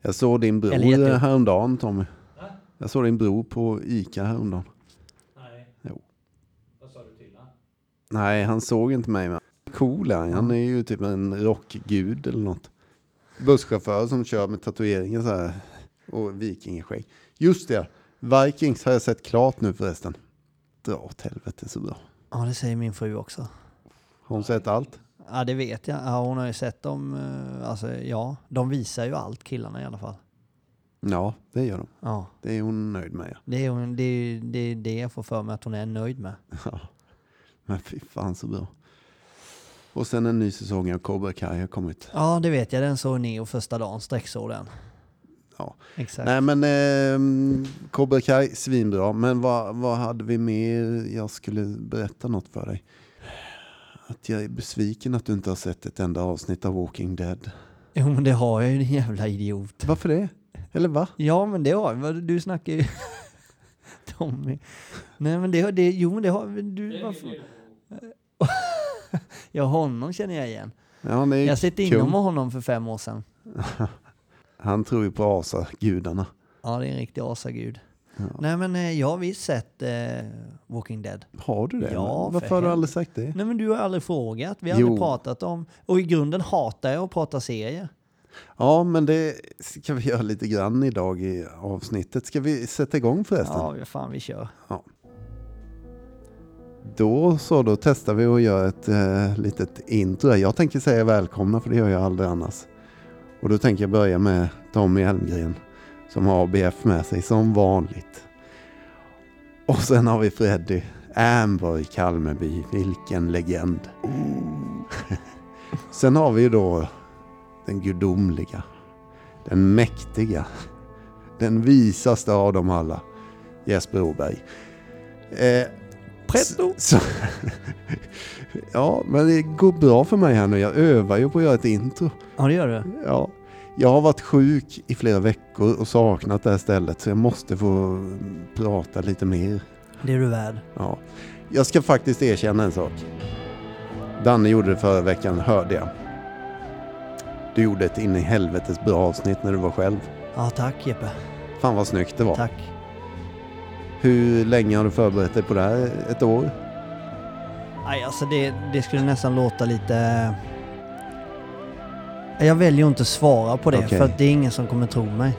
Jag såg din Eller bror eh, jättejobb. häromdagen Tommy. Jag såg din bror på Ica häromdagen. Nej. Jo. Vad sa du till honom? Nej, han såg inte mig. Men cool är han. Han är ju typ en rockgud eller något. Busschaufför som kör med tatueringar så här. Och vikingaskägg. Just det. Vikings har jag sett klart nu förresten. Dra åt helvete så bra. Ja, det säger min fru också. Har hon sett allt? Ja, det vet jag. Ja, hon har ju sett dem. eh, Alltså, ja, de visar ju allt killarna i alla fall. Ja, det gör de. Ja, Det är hon nöjd med. Ja. det är, hon, det, är, det är det jag får för mig att hon är nöjd med. Ja. Men fy fan så bra. Och sen en ny säsong av Cobra Kai har kommit. Ja, det vet jag. Den såg Neo första dagen, sträcksåg den. Ja. Exakt. Nej men eh, Cobra Kai, svinbra. Men vad, vad hade vi mer? Jag skulle berätta något för dig. Att jag är besviken att du inte har sett ett enda avsnitt av Walking Dead. Jo, men det har jag ju, din jävla idiot. Varför det? Eller va? Ja, men det har jag. Du snackar ju... Tommy. Nej, men det har... Det, jo, men det har... Du, varför? Ja, honom känner jag igen. Ja, han, är ju Jag sitter kung. inom med honom för fem år sedan. han tror ju på asagudarna. Ja, det är en riktig asagud. Ja. Nej, men eh, jag har visst sett eh, Walking Dead. Har du det? Ja, Varför för har du helvete. aldrig sagt det? Nej, men du har aldrig frågat. Vi har aldrig Jo. pratat om... Och i grunden hatar jag att prata serier. Ja, men det ska vi göra lite grann idag i avsnittet. Ska vi sätta igång förresten? Ja, fan vi kör. Då så, då testar vi och gör ett eh, litet intro. här. Jag tänker säga välkomna för det gör jag aldrig annars. Och då tänker jag börja med Tommy Elmgren som har ABF med sig som vanligt. Och sen har vi Freddy Amber i Kalmeby, vilken legend. sen har vi ju då den gudomliga, den mäktiga, den visaste av dem alla, Jesper Åberg. Eh, Pretto. så, ja, men det går bra för mig här nu. Jag övar ju på att göra ett intro. Ja, det gör du. Ja. Jag har varit sjuk i flera veckor och saknat det här stället så jag måste få prata lite mer. Det är du värd. Ja. Jag ska faktiskt erkänna en sak. Danne gjorde det förra veckan, hörde jag. Du gjorde ett in i helvetes bra avsnitt när du var själv. Ja, tack Jeppe. Fan vad snyggt det var. Tack. Hur länge har du förberett dig på det här? Ett år? Nej, alltså det, det skulle nästan låta lite... Jag väljer att inte svara på det Okej. för att det är ingen som kommer tro mig.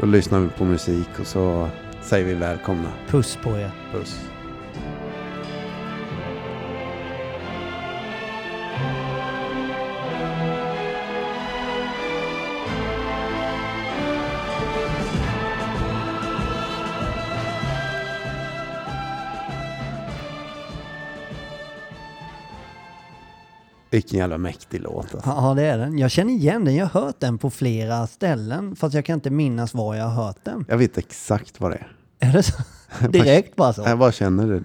Då lyssnar vi på musik och så säger vi välkomna. Puss på er. Puss. Vilken jävla mäktig låt alltså. Ja, det är den. Jag känner igen den. Jag har hört den på flera ställen fast jag kan inte minnas var jag har hört den. Jag vet exakt vad det är. Är det så? Direkt bara så? Jag bara känner det.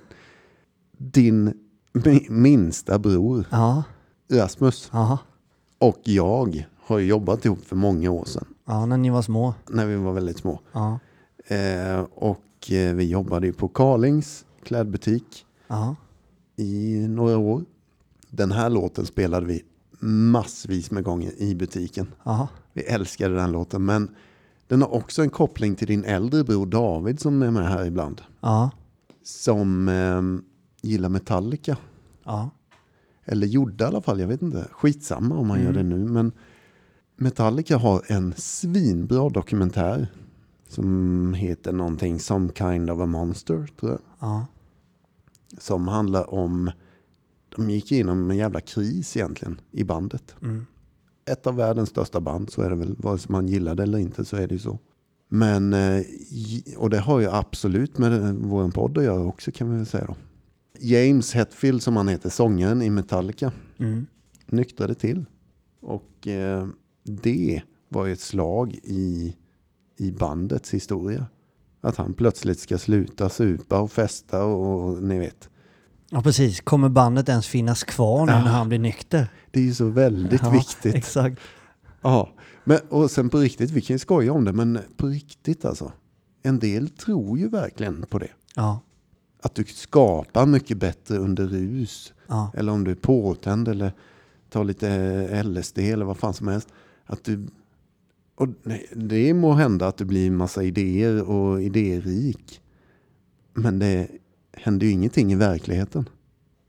Din mi- minsta bror, Ja, Rasmus. ja. och jag har ju jobbat ihop för många år sedan. Ja, när ni var små. När vi var väldigt små. Ja, Eh, och eh, vi jobbade ju på Carlings klädbutik ja. i några år. Den här låten spelade vi massvis med gånger i butiken. ja. Vi älskade den låten. Men den har också en koppling till din äldre bror David som är med här ibland. Ja, Som eh, gillar Metallica. ja. Eller gjorde i alla fall, jag vet inte. Skitsamma om man gör Mm. det nu. Men Metallica har en svinbra dokumentär. Som heter någonting Some Kind of a Monster, tror jag. ja. Som handlar om... De gick igenom en jävla kris egentligen i bandet. Ett av världens största band, så är det väl. Vare sig man gillar det eller inte så är det ju så. Men, eh, j- och det har ju absolut med eh, vår podd att göra också kan vi väl säga då. James Hetfield som han heter, sångaren i Metallica Mm. nyktrade till. Och eh, det var ju ett slag i, i bandets historia. Att han plötsligt ska sluta supa och festa och, och ni vet. Ja, precis. Kommer bandet ens finnas kvar nu när han blir nykter? Det är ju så väldigt viktigt. Exakt. Ja, men, och sen på riktigt, vi kan ju skoja om det, men på riktigt alltså. En del tror ju verkligen på det. Ja, Att du skapar mycket bättre under rus. ja, Eller om du är eh, påtänd eller tar lite LSD eller vad fan som helst. Att du, Och nej, det må hända att det blir massa idéer och idérik. Men det händer ju ingenting i verkligheten.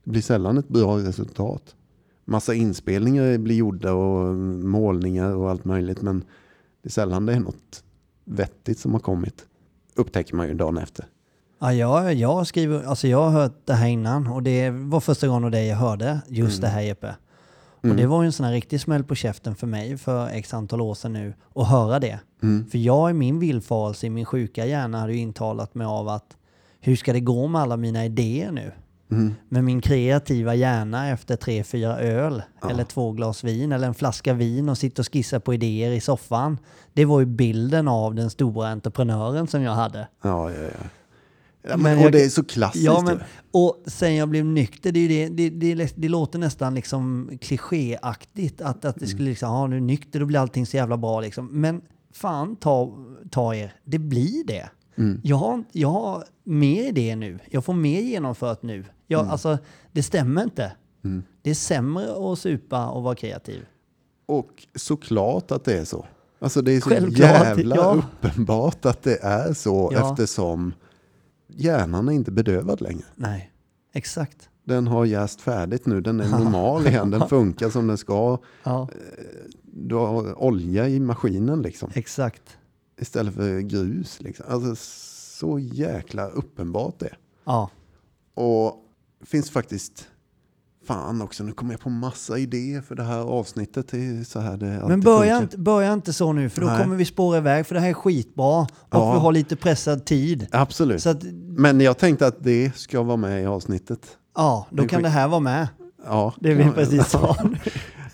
Det blir sällan ett bra resultat. Massa inspelningar blir gjorda och målningar och allt möjligt. Men det är sällan det är något vettigt som har kommit. Upptäcker man ju dagen efter. Ja, jag, jag skriver, alltså jag har hört det här innan och det var första gången och det jag hörde just det här Jeppe. Och det var ju en sån här riktig smäll på käften för mig för x antal år sedan nu att höra det. För jag i min villfarelse, i min sjuka hjärna hade ju intalat mig av att hur ska det gå med alla mina idéer nu? Med min kreativa hjärna efter tre, fyra öl eller två glas vin eller en flaska vin och sitta och skissa på idéer i soffan. Det var ju bilden av den stora entreprenören som jag hade. Ja, ja, ja. ja men, Men och jag- det är så klassiskt. Ja, men, ju. och sen jag blev nykter, det, är ju det, det, det, det låter nästan liksom klichéaktigt att, att det skulle liksom, ja nu är du nykter då blir allting så jävla bra liksom. Men fan ta, ta er, det blir det. Jag, har, jag har mer idéer nu, jag får mer genomfört nu. Jag, Alltså det stämmer inte. Det är sämre att supa och vara kreativ. Och såklart att det är så. Alltså det är så Självklart, jävla ja. uppenbart att det är så Ja. eftersom hjärnan är inte bedövad längre. Nej, exakt. Den har jäst färdigt nu, den är normal igen, den funkar som den ska. Ja, Du har olja i maskinen liksom, exakt. istället för grus. Liksom. Alltså så jäkla uppenbart det. Ja, Och det finns faktiskt, fan också, nu kommer jag på massa idéer för det här avsnittet. Det är så här det Men alltid börja funkar. inte, börja inte så nu för då Nej. kommer vi spåra iväg för det här är skitbra och Ja. vi har lite pressad tid. Absolut. Så att, Men jag tänkte att det ska vara med i avsnittet. ja, då Det är kan det här vara med. Ja. Det vi precis sa.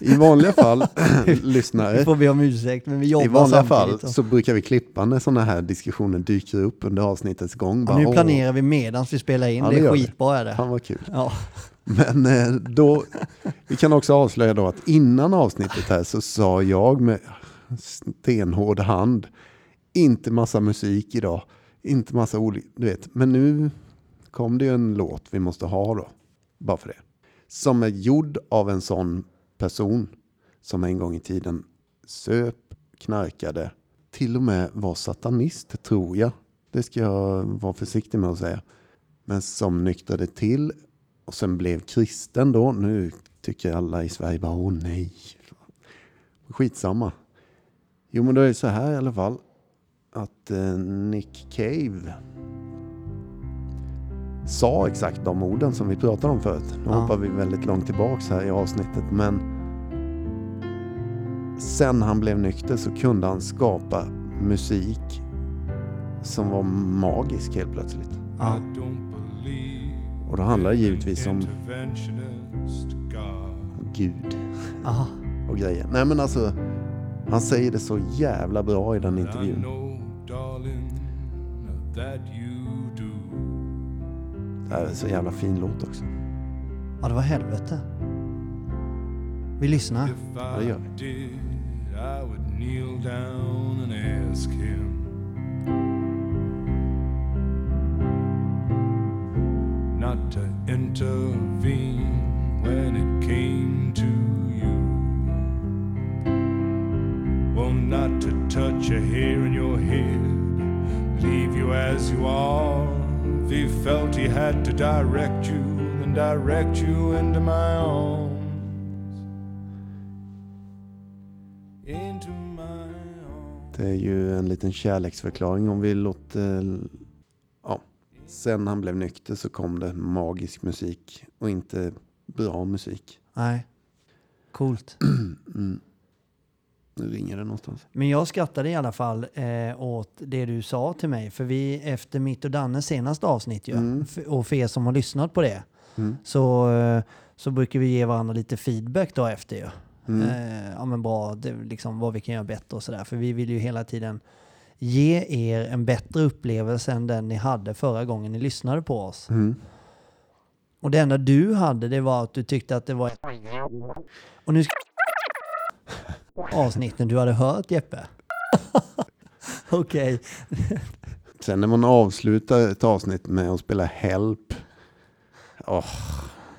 I vanliga fall, Nu lyssnare, får vi om ursäkt men vi jobbar i vanliga fall samtidigt. så brukar vi klippa när sådana här diskussioner dyker upp under avsnittets gång. och, nu "Åh, planerar vi medans vi spelar in. Ja, det det är gör vi. skitbra är det. Fan vad kul. Ja. Men eh, då, vi kan också avslöja då att innan avsnittet här så sa jag med stenhård hand, inte massa musik idag, inte massa olika, du vet. Men nu kom det ju en låt vi måste ha då, bara för det. Som är gjord av en sån person som en gång i tiden söp, knarkade, till och med var satanist tror jag. Det ska jag vara försiktig med att säga. Men som nyktrade till och sen blev kristen då. Nu tycker alla i Sverige bara åh nej. Skitsamma. Jo men då är det så här i alla fall. Att eh, Nick Cave sa exakt de orden som vi pratade om förut. Nu Ja. hoppar vi väldigt långt tillbaks här i avsnittet men sen han blev nykter så kunde han skapa musik som var magisk helt plötsligt. Ja. Och då handlar det givetvis om Gud Aha. och grejer. Nej men alltså, han säger det så jävla bra i den intervjun. Det här är så jävla fin låt också. ja, det var helvete. Vi lyssnar. Ja, det Ah, gör vi. did, I would kneel down and ask him not to intervene when it came to you. Well, not to touch a hair in your head, leave you as you are. If he felt he had to direct you, then direct you into my arms into my arms. Det är ju en liten kärleksförklaring om vi låter... Ja. Sen han blev nykter så kom det magisk musik och inte bra musik. Nej. Coolt. Nu ringer det någonstans. Men jag skrattade i alla fall eh, åt det du sa till mig. För vi, efter mitt och Dannes senaste avsnitt ju, Mm. f- och för er som har lyssnat på det, så, eh, så brukar vi ge varandra lite feedback då efter ju. Mm. Eh, ja men bra, det, liksom, vad vi kan göra bättre och sådär. För vi vill ju hela tiden ge er en bättre upplevelse än den ni hade förra gången ni lyssnade på oss. Mm. Och det enda du hade det var att du tyckte att det var... Och nu ska avsnitten du hade hört Jeppe. Okej. Sen när man avslutar ett avsnitt med att spela Help. åh,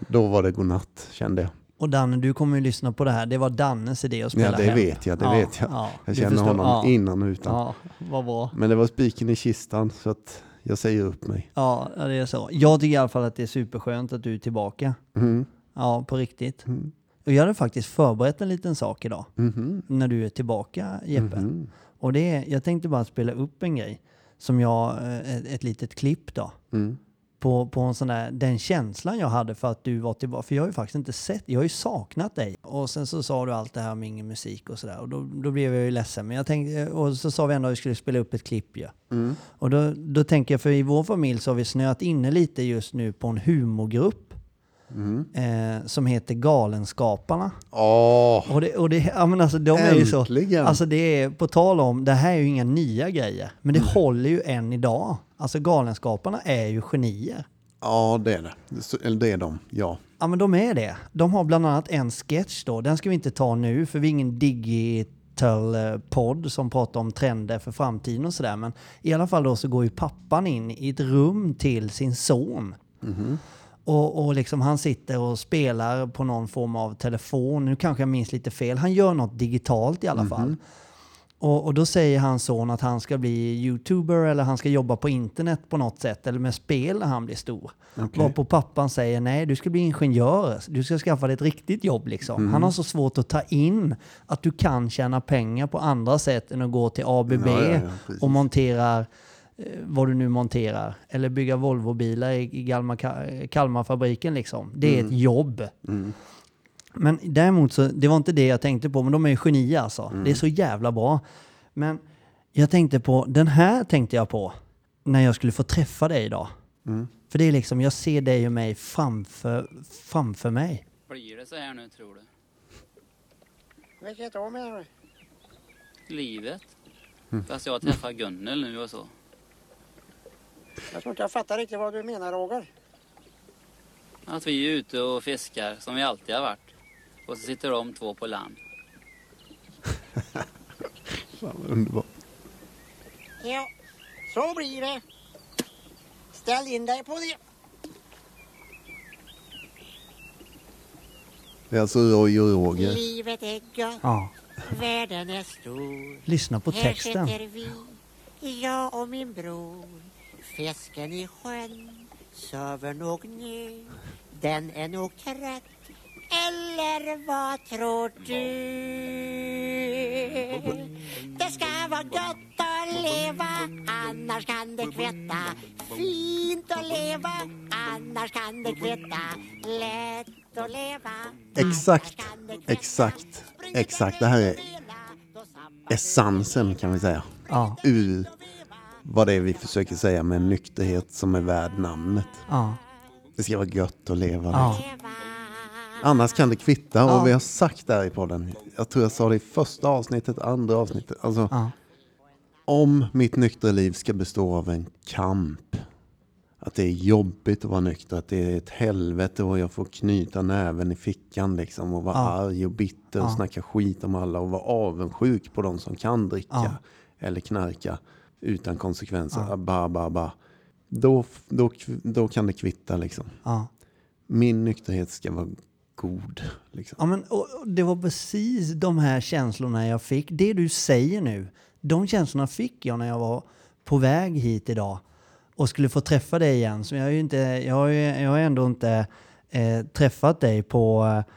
då var det godnatt kände jag. Och Danne, du kommer ju lyssna på det här. Det var Dannes idé att spela Ja, det hem. vet jag, det Ja, vet jag. ja, jag du känner förstår. honom Ja. innan och utan. Ja, vad bra. Men det var spiken i kistan så att jag säger upp mig. Ja, det är så. Jag tycker i alla fall att det är superskönt att du är tillbaka. Mm. Ja, på riktigt. Och jag hade faktiskt förberett en liten sak idag. När du är tillbaka, Jeppe. Och det är, jag tänkte bara spela upp en grej. Som jag, eh, ett, ett litet klipp då. På, på en sån där, den känslan jag hade för att du var tillbaka. För jag har ju faktiskt inte sett, jag har ju saknat dig. Och sen så sa du allt det här med ingen musik och sådär. Och då, då blev jag ju ledsen. Men jag tänkte, och så sa vi ändå att vi skulle spela upp ett klipp ju. Och då, då tänker jag, för i vår familj så har vi snöat inne lite just nu på en humorgrupp eh, som heter Galenskaparna. Åh, Och det, och det, ja, men alltså, de är ju så, Äntligen. alltså det är, på tal om, det här är ju inga nya grejer, men det håller ju än idag. Alltså Galenskaparna är ju genier. ja det är det. Det s- Eller det är de, ja. Ja men de är det. De har bland annat en sketch då, den ska vi inte ta nu för vi är ingen digital-podd som pratar om trender för framtiden och sådär. Men i alla fall då så går ju pappan in i ett rum till sin son. Och, och liksom han sitter och spelar på någon form av telefon, nu kanske jag minns lite fel, han gör något digitalt i alla Mhm. fall. Och, och då säger hans son att han ska bli youtuber eller han ska jobba på internet på något sätt eller med spel när han blir stor. Varpå pappan säger nej, du ska bli ingenjör. Du ska skaffa dig ett riktigt jobb liksom. Mhm. Han har så svårt att ta in att du kan tjäna pengar på andra sätt än att gå till ABB Ja, ja, ja, precis. och monterar eh, vad du nu monterar. Eller bygga Volvobilar i, i Galmar, Ka- Kalmarfabriken liksom. Det är ett jobb. Men däremot så, det var inte det jag tänkte på, men de är ju genier alltså. Det är så jävla bra. Men jag tänkte på, den här tänkte jag på när jag skulle få träffa dig idag. För det är liksom, jag ser dig och mig framför, framför mig. Blir det så här nu tror du? Vilket då menar du? Livet? Fast jag träffar Gunnel nu och så. Jag tror inte jag fattar riktigt vad du menar Roger. Att vi är ute och fiskar som vi alltid har varit. Och så sitter de två på land. Fan, vad underbart. Ja, så blir det. Ställ in dig på det. Det är alltså Roy och Roger. Livet är gott, Ja. världen är stor. Lyssna på Här texten. sitter vi, jag och min bror. Fisken i sjön sover nog nu. Den är nog trött. Eller vad tror du? Det ska vara gott att leva, annars kan det kvitta. Fint att leva, annars kan det kvitta. Lätt att leva, Exakt, annars kan det kvitta. exakt, exakt. Det här är essensen kan vi säga. Ja. Ur vad det är vi försöker säga med nykterhet som är värd namnet. Ja. Det ska vara gött att leva. Ja. liksom. Annars kan det kvitta och vi har sagt det här i podden. Jag tror jag sa det i första avsnittet, andra avsnittet. Alltså, Ja. Om mitt nyktra liv ska bestå av en kamp. Att det är jobbigt att vara nykter, att det är ett helvete och jag får knyta näven i fickan liksom och vara arg och bitter och snacka skit om alla och vara avundsjuk på de som kan dricka eller knarka utan konsekvenser. Ba, ba, ba. Då, då, då kan det kvitta liksom Ja. min nykterhet ska vara god. Liksom. Ja, men, och, och det var precis de här känslorna jag fick. Det du säger nu, de känslorna fick jag när jag var på väg hit idag och skulle få träffa dig igen. Så jag, är ju inte, jag, har ju, jag har ändå inte eh, träffat dig på eh,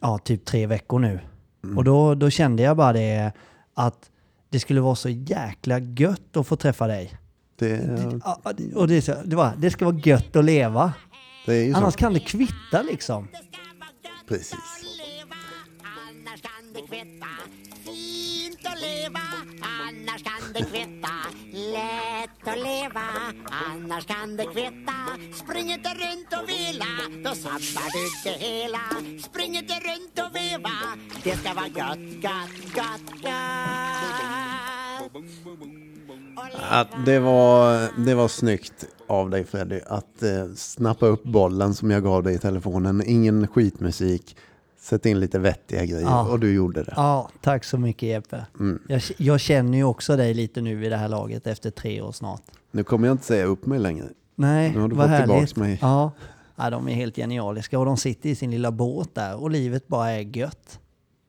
ja, typ tre veckor nu. Mm. Och då, då kände jag bara det att det skulle vara så jäkla gött att få träffa dig. Det, är- Ja, Och det, är så- det, var, det ska vara gött att leva. det är ju så. Annars kan det kvitta liksom. Precis. leva, annars kan det kvitta. Fint att leva, annars kan det kvitta. Lätt att leva, annars kan det kvitta. Spring inte runt och vila, då sabbar du det hela. Spring inte runt och veva, det ska vara gött, gött, gött, gött. Att det, var, det var snyggt av dig Freddy att eh, snappa upp bollen som jag gav dig i telefonen. Ingen skitmusik. Sätt in lite vettiga grejer Ja. och du gjorde det. Ja, Mm. tack så mycket Jeppe. Jag, jag känner ju också dig lite nu i det här laget efter tre år snart. Nu kommer jag inte säga upp mig längre. Nej, Nu har du vad fått härligt. tillbaks mig. Ja, Ja, de är helt genialiska och de sitter i sin lilla båt där och livet bara är gött.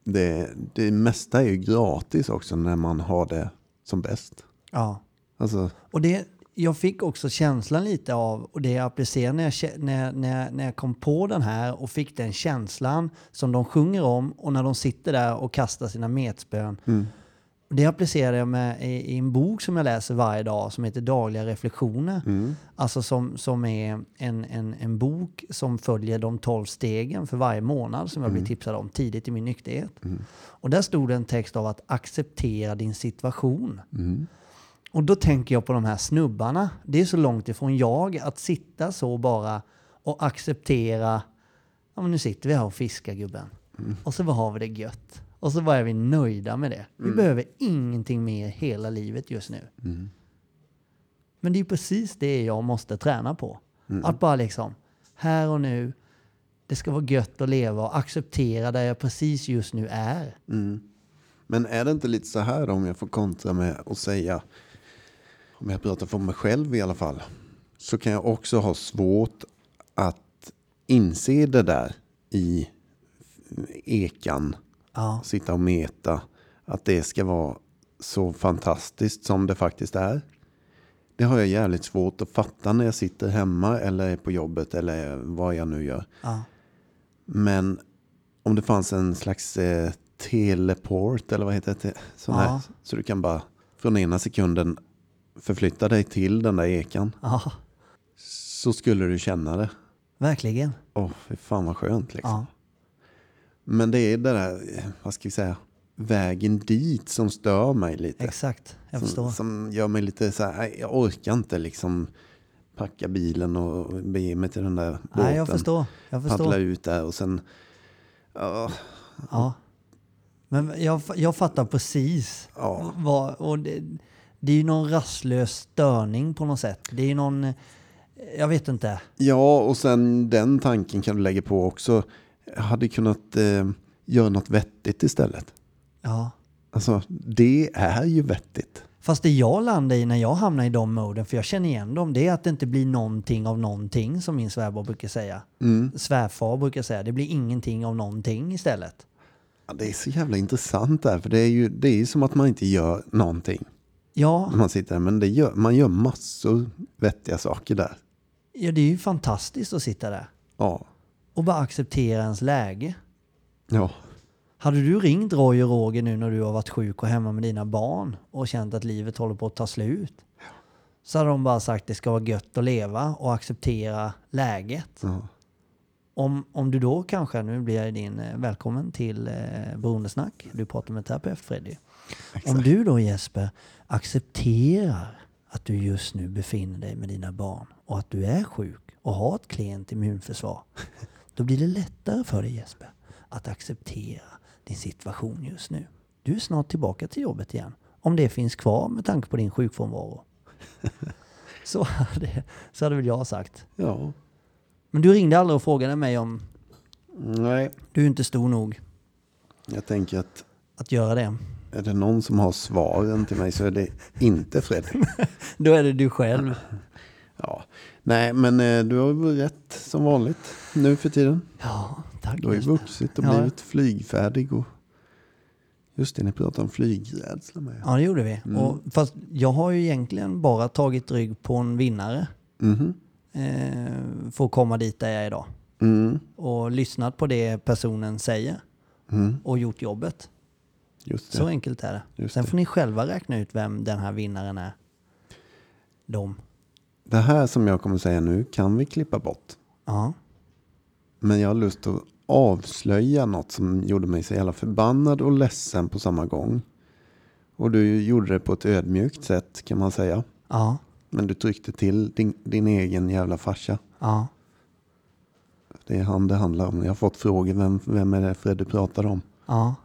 Det, det mesta är ju gratis också när man har det som bäst. Ja. Alltså, Och det, jag fick också känslan lite av, och det jag applicerar när jag, kä- när, när, när jag kom på den här och fick den känslan som de sjunger om och när de sitter där och kastar sina metspön. Det applicerade jag med i, i en bok som jag läser varje dag som heter Dagliga reflektioner. Alltså som, som är en, en, en bok som följer de tolv stegen för varje månad som jag blir tipsad om tidigt i min nykterhet. Och där stod det en text av att acceptera din situation. Och då tänker jag på de här snubbarna. Det är så långt ifrån jag att sitta så bara och acceptera. Ja, men nu sitter vi här och fiskar gubben. Och så bara har vi det gött. Och så bara är vi nöjda med det. Vi behöver ingenting mer hela livet just nu. Men det är precis det jag måste träna på. Att bara liksom, här och nu, det ska vara gött att leva och acceptera där jag precis just nu är. Men är det inte lite så här då, om jag får kontra med att säga, om jag pratar för mig själv i alla fall, så kan jag också ha svårt att inse det där i ekan, Ja. sitta och meta, att det ska vara så fantastiskt som det faktiskt är. Det har jag jävligt svårt att fatta när jag sitter hemma eller är på jobbet eller vad jag nu gör. Ja. Men om det fanns en slags eh, teleport eller vad heter det? Sån Ja. här, så du kan bara från ena sekunden förflytta dig till den där ekan. ja, Så skulle du känna det. verkligen. Åh, fy fan vad skönt liksom. Ja. Men det är det där, eh, vad ska vi säga, vägen dit som stör mig lite. Exakt, jag förstår. som, som gör mig lite så här, "Nej, jag orkar inte liksom packa bilen och och bege mig till den där båten. Nej, jag förstår. Jag Paddla förstår. ut där och sen, ja, Ja. Men jag, jag fattar precis. Ja. Vad, och det, det är ju någon rastlös störning på något sätt. Det är ju någon... Jag vet inte. Ja, och sen den tanken kan du lägga på också. Jag hade kunnat eh, göra något vettigt istället. Ja. Alltså, det är ju vettigt. Fast det jag landar i när jag hamnar i de moden, för jag känner igen dem, det är att det inte blir någonting av någonting som min svärmor brukar säga. Mm. Svärfar brukar säga, det blir ingenting av någonting istället. Ja, det är så jävla intressant där, för det är ju det är ju som att man inte gör någonting Ja, när man sitter där, men det gör, man gör massor vettiga saker där. ja, det är ju fantastiskt att sitta där Ja, och bara acceptera ens läge. ja. Hade du ringt Roy och Roger nu när du har varit sjuk och hemma med dina barn och känt att livet håller på att ta slut? Så hade de bara sagt det ska vara gött att leva och acceptera läget. ja. Om, om du då kanske, nu blir jag din eh, välkommen till eh, Beroendesnack, du pratar med terapeut Freddy. Om du då Jesper accepterar att du just nu befinner dig med dina barn och att du är sjuk och har ett klent immunförsvar. Då blir det lättare för dig Jesper att acceptera din situation just nu. Du är snart tillbaka till jobbet igen. Om det finns kvar med tanke på din sjukfrånvaro. Så hade, så hade väl jag sagt. ja. Men du ringde aldrig och frågade mig om Nej, du är inte stor nog jag tänker att att göra det. är det någon som har svaren till mig så är det inte Fredrik. Då är det du själv. Mm. Ja. Nej, men eh, du har väl rätt som vanligt nu för tiden. Ja, tack. Du har ju Jesper. vuxit och Ja. blivit flygfärdig. Och... Just det, ni pratade om flygrädsla med. Ja, det gjorde vi. Mm. Och, fast jag har ju egentligen bara tagit rygg på en vinnare Mhm. eh, för att komma dit där jag är idag. Mm, Och lyssnat på det personen säger och gjort jobbet. just det. Så enkelt är det. Mm. Just Sen det. får ni själva räkna ut vem den här vinnaren är. De. Det här som jag kommer säga nu kan vi klippa bort. Ja. Men jag har lust att avslöja något som gjorde mig så jävla förbannad och ledsen på samma gång. Och du gjorde det på ett ödmjukt sätt kan man säga. Ja. Men du tryckte till din, din egen jävla farsa. Ja. Det är han det handlar om. Jag har fått frågor vem, vem är det Fredde pratar om. Ja.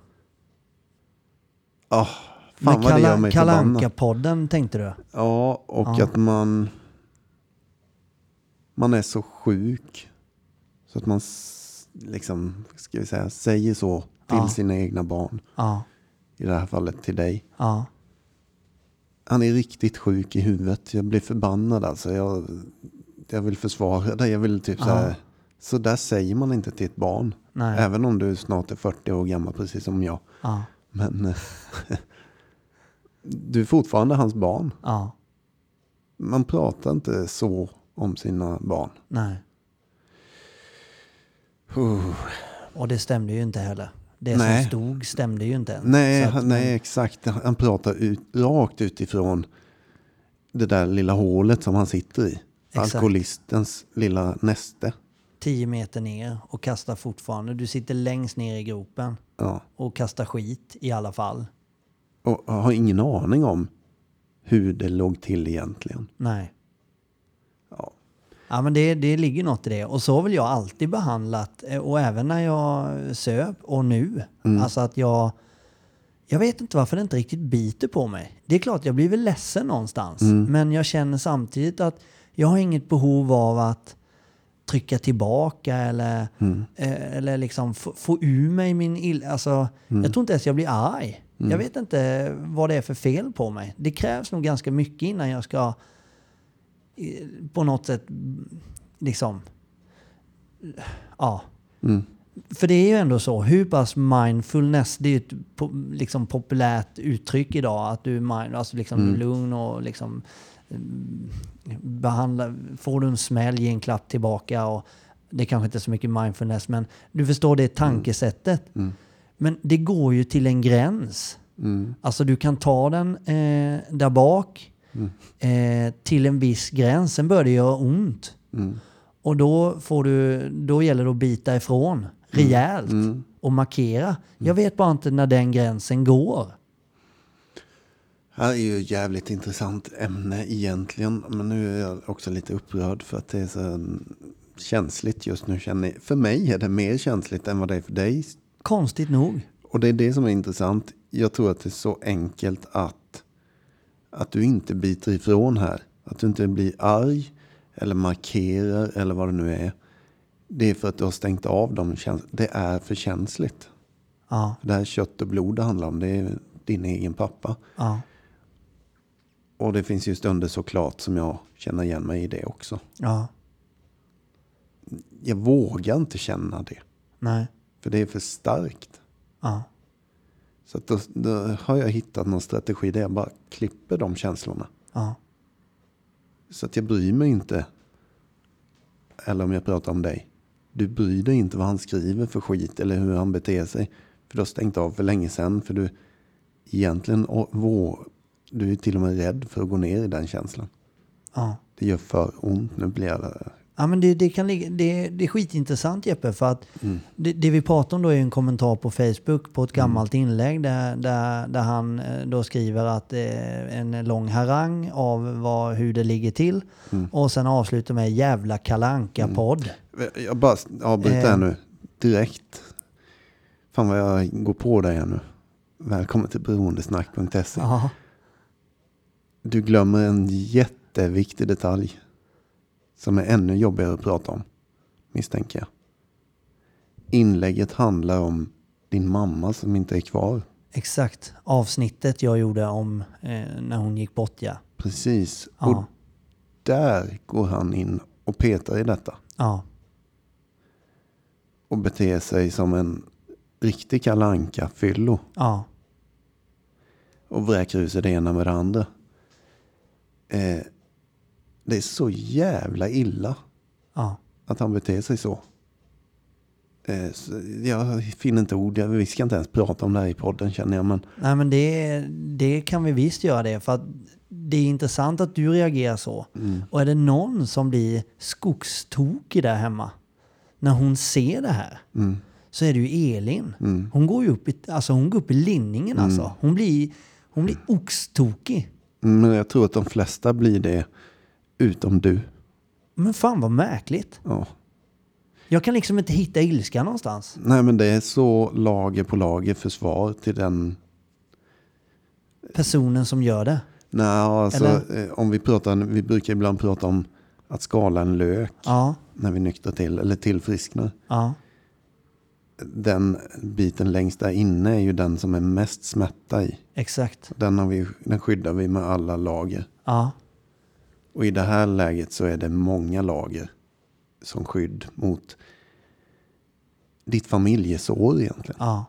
Ah, fan Men vad det gör Kalla, mig Kalle förbannad. Anka-podden tänkte du? Ja, och att man... Man är så sjuk. Så att man s- liksom, ska vi säga, säger så till sina egna barn. Ja. I det här fallet till dig. Ja. Han är riktigt sjuk i huvudet. Jag blir förbannad alltså. Jag, jag vill försvara dig. Jag vill typ så här, Så där säger man inte till ett barn. Nej. Även om du snart är 40 år gammal, precis som jag. Ja. Men eh, du är fortfarande hans barn. Ja. Man pratar inte så om sina barn. Nej. Och det stämde ju inte heller. Det Nej. som stod stämde ju inte ens. Nej, Så att- han- nej exakt. Han pratar ut, rakt utifrån det där lilla hålet som han sitter i. Exakt. Alkoholistens lilla näste. 10 meter ner och kastar fortfarande. Du sitter längst ner i gropen Ja. och kastar skit i alla fall. Och har ingen aning om hur det låg till egentligen. Nej. Ja. Ja men det, det ligger något i det. Och så har väl jag alltid behandlat eh, och även när jag söp och nu. Alltså att jag... Jag vet inte varför det inte riktigt biter på mig. Det är klart jag blir väl ledsen någonstans. Men jag känner samtidigt att jag har inget behov av att trycka tillbaka eller, eh, eller liksom få, få ur mig min ill... Alltså, Jag tror inte ens jag blir arg. Jag vet inte vad det är för fel på mig. Det krävs nog ganska mycket innan jag ska eh, på något sätt mm, liksom... Ja. För det är ju ändå så, hur pass mindfulness, det är ju ett po- liksom populärt uttryck idag, att du är mind, alltså liksom du är lugn och liksom mm, behandla, får du en smäll, ge en klapp tillbaka och det kanske inte är så mycket mindfulness, men du förstår det tankesättet. Men det går ju till en gräns. Alltså du kan ta den eh, där bak eh, till en viss gräns, sen börjar det göra ont. Och då, får du, då gäller det att bita ifrån rejält och markera. Jag vet bara inte när den gränsen går. Det här är ju ett jävligt intressant ämne egentligen. Men nu är jag också lite upprörd för att det är så känsligt just nu. Känner jag. För mig är det mer känsligt än vad det är för dig. Konstigt nog. Och det är det som är intressant. Jag tror att det är så enkelt att, att du inte biter ifrån här. Att du inte blir arg eller markerar eller vad det nu är. Det är för att du har stängt av dem. käns- Det är för känsligt. Ja, Det här kött och blod det handlar om, det är din egen pappa. ja, Och det finns ju stunder såklart som jag känner igen mig i det också. ja, Jag vågar inte känna det, nej, för det är för starkt. ja, Så att då, då har jag hittat någon strategi där jag bara klipper de känslorna. ja, Så att jag bryr mig inte. Eller om jag pratar om dig. Du bryr dig inte vad han skriver för skit eller hur han beter sig. För du har stängt av för länge sedan. För du egentligen å- vå, du är till och med rädd för att gå ner i den känslan. ja. Det gör för ont. Nu blir jag... Ja, men det, det, kan ligga, det, det är skitintressant Jeppe, för att det, det vi pratar om då är ju en kommentar på Facebook på ett gammalt inlägg där, där, där han eh, då skriver att eh, en lång harang av vad, hur det ligger till och sen avslutar med jävla kalanka podd Jag bara avbryter här Eh. nu. Direkt. Fan vad jag går på dig här nu. Välkommen till beroendesnack.se. Ja, Du glömmer en jätteviktig detalj. Som är ännu jobbigare att prata om. Misstänker jag. Inlägget handlar om din mamma som inte är kvar. exakt. Avsnittet jag gjorde om eh, när hon gick bort ja. Precis. Och Ja, där går han in och petar i detta. ja, Och beter sig som en riktig kalanka fyllo ja, Och vräker ur sig det ena med det andra. Eh, det är så jävla illa. ja. att han beter sig så. Eh, så jag finner inte ord. Jag- Vi ska inte ens prata om det här i podden känner jag. Men Nej men det, det kan vi visst göra det. För att det är intressant att du reagerar så. Och är det någon som blir skogstokig där hemma när hon ser det här. Så är det ju Elin. Hon går ju upp i, alltså hon går upp i linningen alltså. Hon blir, hon blir oxtokig. men jag tror att de flesta blir det. Utom du. Men fan vad märkligt. Ja. Jag kan liksom inte hitta ilska någonstans. Nej men det är så lager på lager försvar till den. Personen som gör det. Nej, alltså, Eller? eh, om vi pratar, vi brukar ibland prata om att skala en lök Ja, när vi nyktrar till eller tillfrisknar. ja, Den biten längst där inne är ju den som är mest smärta i. exakt. Den, har vi, den skyddar vi med alla lager. Ja, Och i det här läget så är det många lager som skydd mot ditt familjesår egentligen. Ja,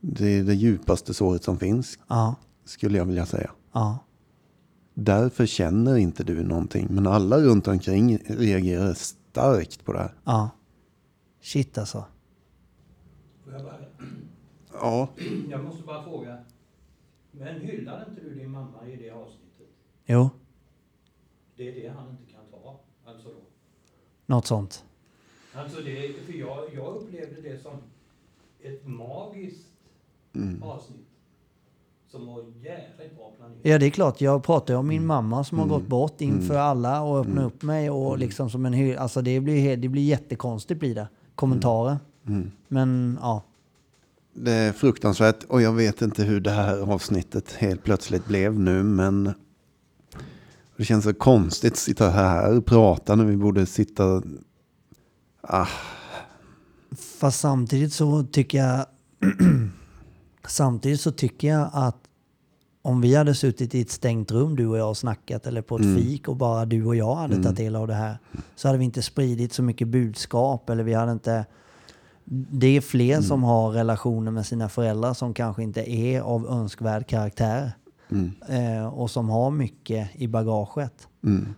Det är det djupaste såret som finns, ja, skulle jag vilja säga. ja. Därför känner inte du någonting, men alla runt omkring reagerar starkt på det här. Ja. Shit alltså. Får jag, bara, Ja, jag måste bara fråga. Men hyllade inte du din mamma i det avsnittet? Jo, Det är det han inte kan ta. Alltså då. något sånt. Alltså det, för jag, jag upplevde det som ett magiskt avsnitt. Som var jävligt bra planerat. Ja, det är klart. Jag pratar ju om min mamma som har gått bort inför alla och öppnat upp mig och liksom som en hy- Alltså det blir, he- det blir jättekonstigt blir det. Kommentarer. Men ja, det är fruktansvärt och jag vet inte hur det här avsnittet helt plötsligt blev nu, men det känns så konstigt att sitta här och prata när vi borde sitta... Ah, fast samtidigt så tycker jag... samtidigt så tycker jag att om vi hade suttit i ett stängt rum du och jag och snackat eller på ett fik och bara du och jag hade tagit del av det här så hade vi inte spridit så mycket budskap eller vi hade inte... Det är fler som har relationer med sina föräldrar som kanske inte är av önskvärd karaktär. Eh, och som har mycket i bagaget.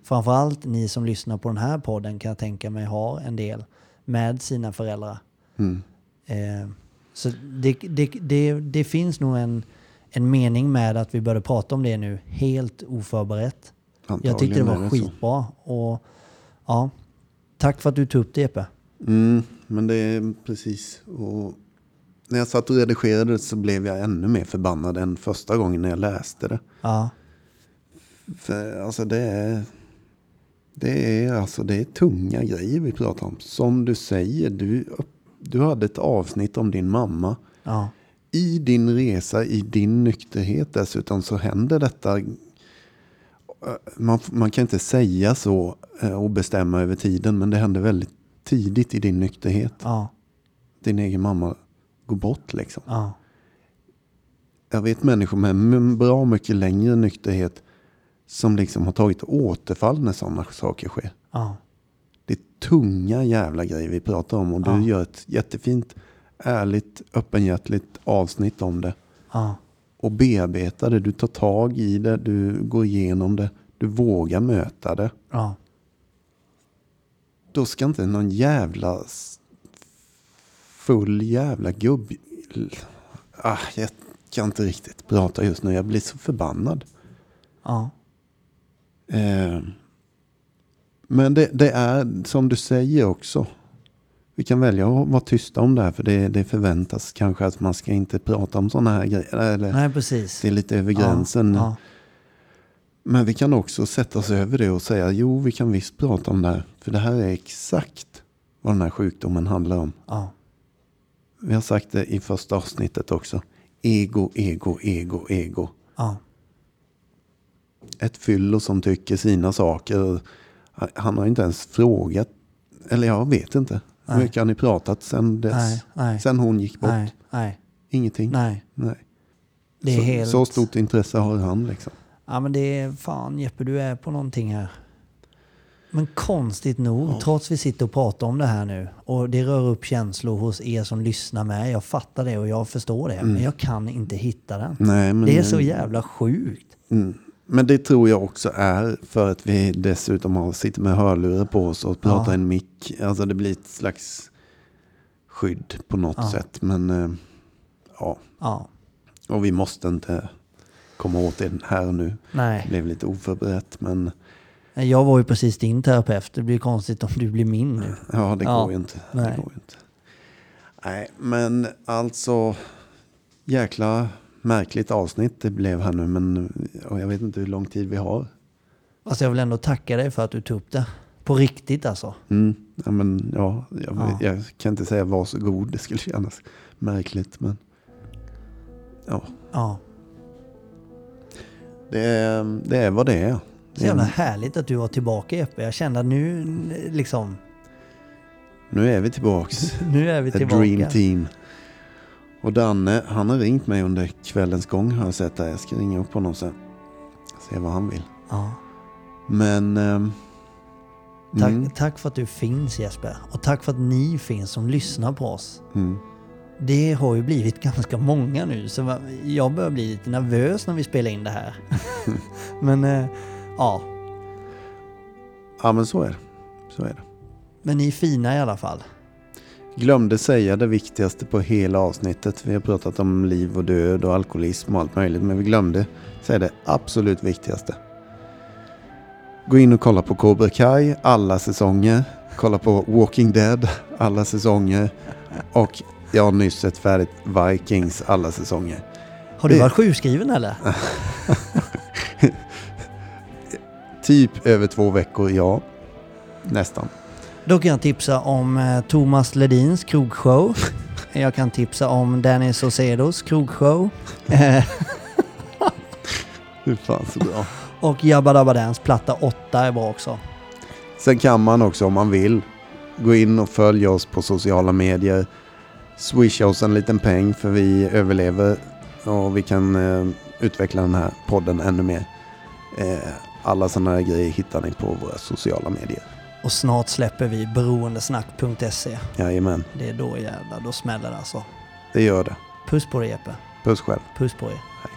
Framförallt ni som lyssnar på den här podden kan jag tänka mig har en del med sina föräldrar. Eh, så det, det, det, det finns nog en, en mening med att vi började prata om det nu helt oförberett. antagligen Jag tyckte det är var så. skitbra. Och, ja, tack för att du tog upp det Jeppe. Mm, men det är precis. Och när jag satt och redigerade det så blev jag ännu mer förbannad än första gången när jag läste det. Ja, För alltså det är... Det är alltså det är tunga grejer vi pratar om. Som du säger, du, du hade ett avsnitt om din mamma. ja, I din resa, i din nykterhet dessutom, så händer detta. Eh, Man, man kan inte säga så eh, och bestämma över tiden, men det hände väldigt tidigt i din nykterhet ja, din egen mamma går bort liksom. ja, Jag vet människor med m- bra mycket längre nykterhet som liksom har tagit återfall när sådana saker sker. ja, Det är tunga jävla grejer vi pratar om och du gör ett jättefint, ärligt, öppenhjärtligt avsnitt om det. ja, Och bearbetar det, du tar tag i det, du går igenom det, du vågar möta det. ja. Då ska inte någon jävla s- full jävla gubb... l- Ah, jag kan inte riktigt prata just nu. Jag blir så förbannad. ja. Eh, men det, det är som du säger också. Vi kan välja att vara tysta om det här för det, det förväntas kanske att man ska inte prata om sådana här grejer. Eller Nej, precis. det är lite över gränsen. Ja, Men vi kan också sätta oss över det och säga jo, vi kan visst prata om det här. För det här är exakt vad den här sjukdomen handlar om. ja, Vi har sagt det i första avsnittet också. Ego, ego, ego, ego. ja, Ett fyllo som tycker sina saker. Han har inte ens frågat. Eller jag vet inte. Hur mycket har ni pratat sen dess? Nej, nej. Sen hon gick ja. bort? Nej, nej, Ingenting? nej. Nej. Det är så, helt... så stort intresse har han liksom. Ja men det är fan Jeppe, du är på någonting här. Men konstigt nog, trots vi sitter och pratar om det här nu och det rör upp känslor hos er som lyssnar med. Jag fattar det och jag förstår det, men jag kan inte hitta den. Mm. Nej, men, Det är så jävla sjukt. Mm. Men det tror jag också är för att vi dessutom har, sitter med hörlurar på oss och pratar i en mick. Alltså det blir ett slags skydd på något sätt. Men eh, ja. Ja, Och vi måste inte komma åt det här och nu. Det nej. blev lite oförberett, men Jag var ju precis din terapeut. Det blir konstigt om du blir min nu. ja, det Ja, går ju inte. nej. Det går ju inte. Nej, men alltså jäkla märkligt avsnitt det blev här nu, men och jag vet inte hur lång tid vi har. Alltså jag vill ändå tacka dig för att du tog upp det. På riktigt alltså. Mm, ja, men ja, jag, Ja. jag kan inte säga var så god, det skulle kännas märkligt, men ja, Ja. det är, det är vad det är. Så Mm. jävla härligt att du var tillbaka Jeppe. Jag kände att nu liksom, Nu är vi tillbaks. nu är vi The tillbaka. Dream Team. Och Danne, han har ringt mig under kvällens gång har jag sett där. Jag ska ringa upp honom sen. Se vad han vill. Ja. Men ehm, Tack, tack för att du finns Jesper. Och tack för att ni finns som lyssnar på oss. mm. Det har ju blivit ganska många nu så va- jag börjar bli lite nervös när vi spelar in det här. men eh, ja, Ja, men så är det. Så är det. men ni är fina i alla fall. Glömde säga det viktigaste på hela avsnittet. Vi har pratat om liv och död och alkoholism och allt möjligt. Men vi glömde säga det absolut viktigaste. Gå in och kolla på Cobra Kai, alla säsonger. Kolla på Walking Dead, alla säsonger. Och jag har nyss sett färdigt Vikings, alla säsonger. Har du Det- varit sjukskriven eller? Typ över två veckor, ja. Nästan. Då kan jag tipsa om eh, Thomas Ledins krogshow. Jag kan tipsa om Danny Saucedos krogshow. Eh, Hur fan så bra. Och Jabba Dabba Dans platta 8 är bra också. Sen kan man också om man vill gå in och följa oss på sociala medier. Swisha oss en liten peng för vi överlever och vi kan eh, utveckla den här podden ännu mer. Eh, alla sådana här grejer hittar ni på våra sociala medier. Och snart släpper vi beroendesnack.se. Jajamän, Det är då jävlar, då smäller det alltså. det gör det. Puss på dig Jeppe. Puss själv. Puss på er. Hej.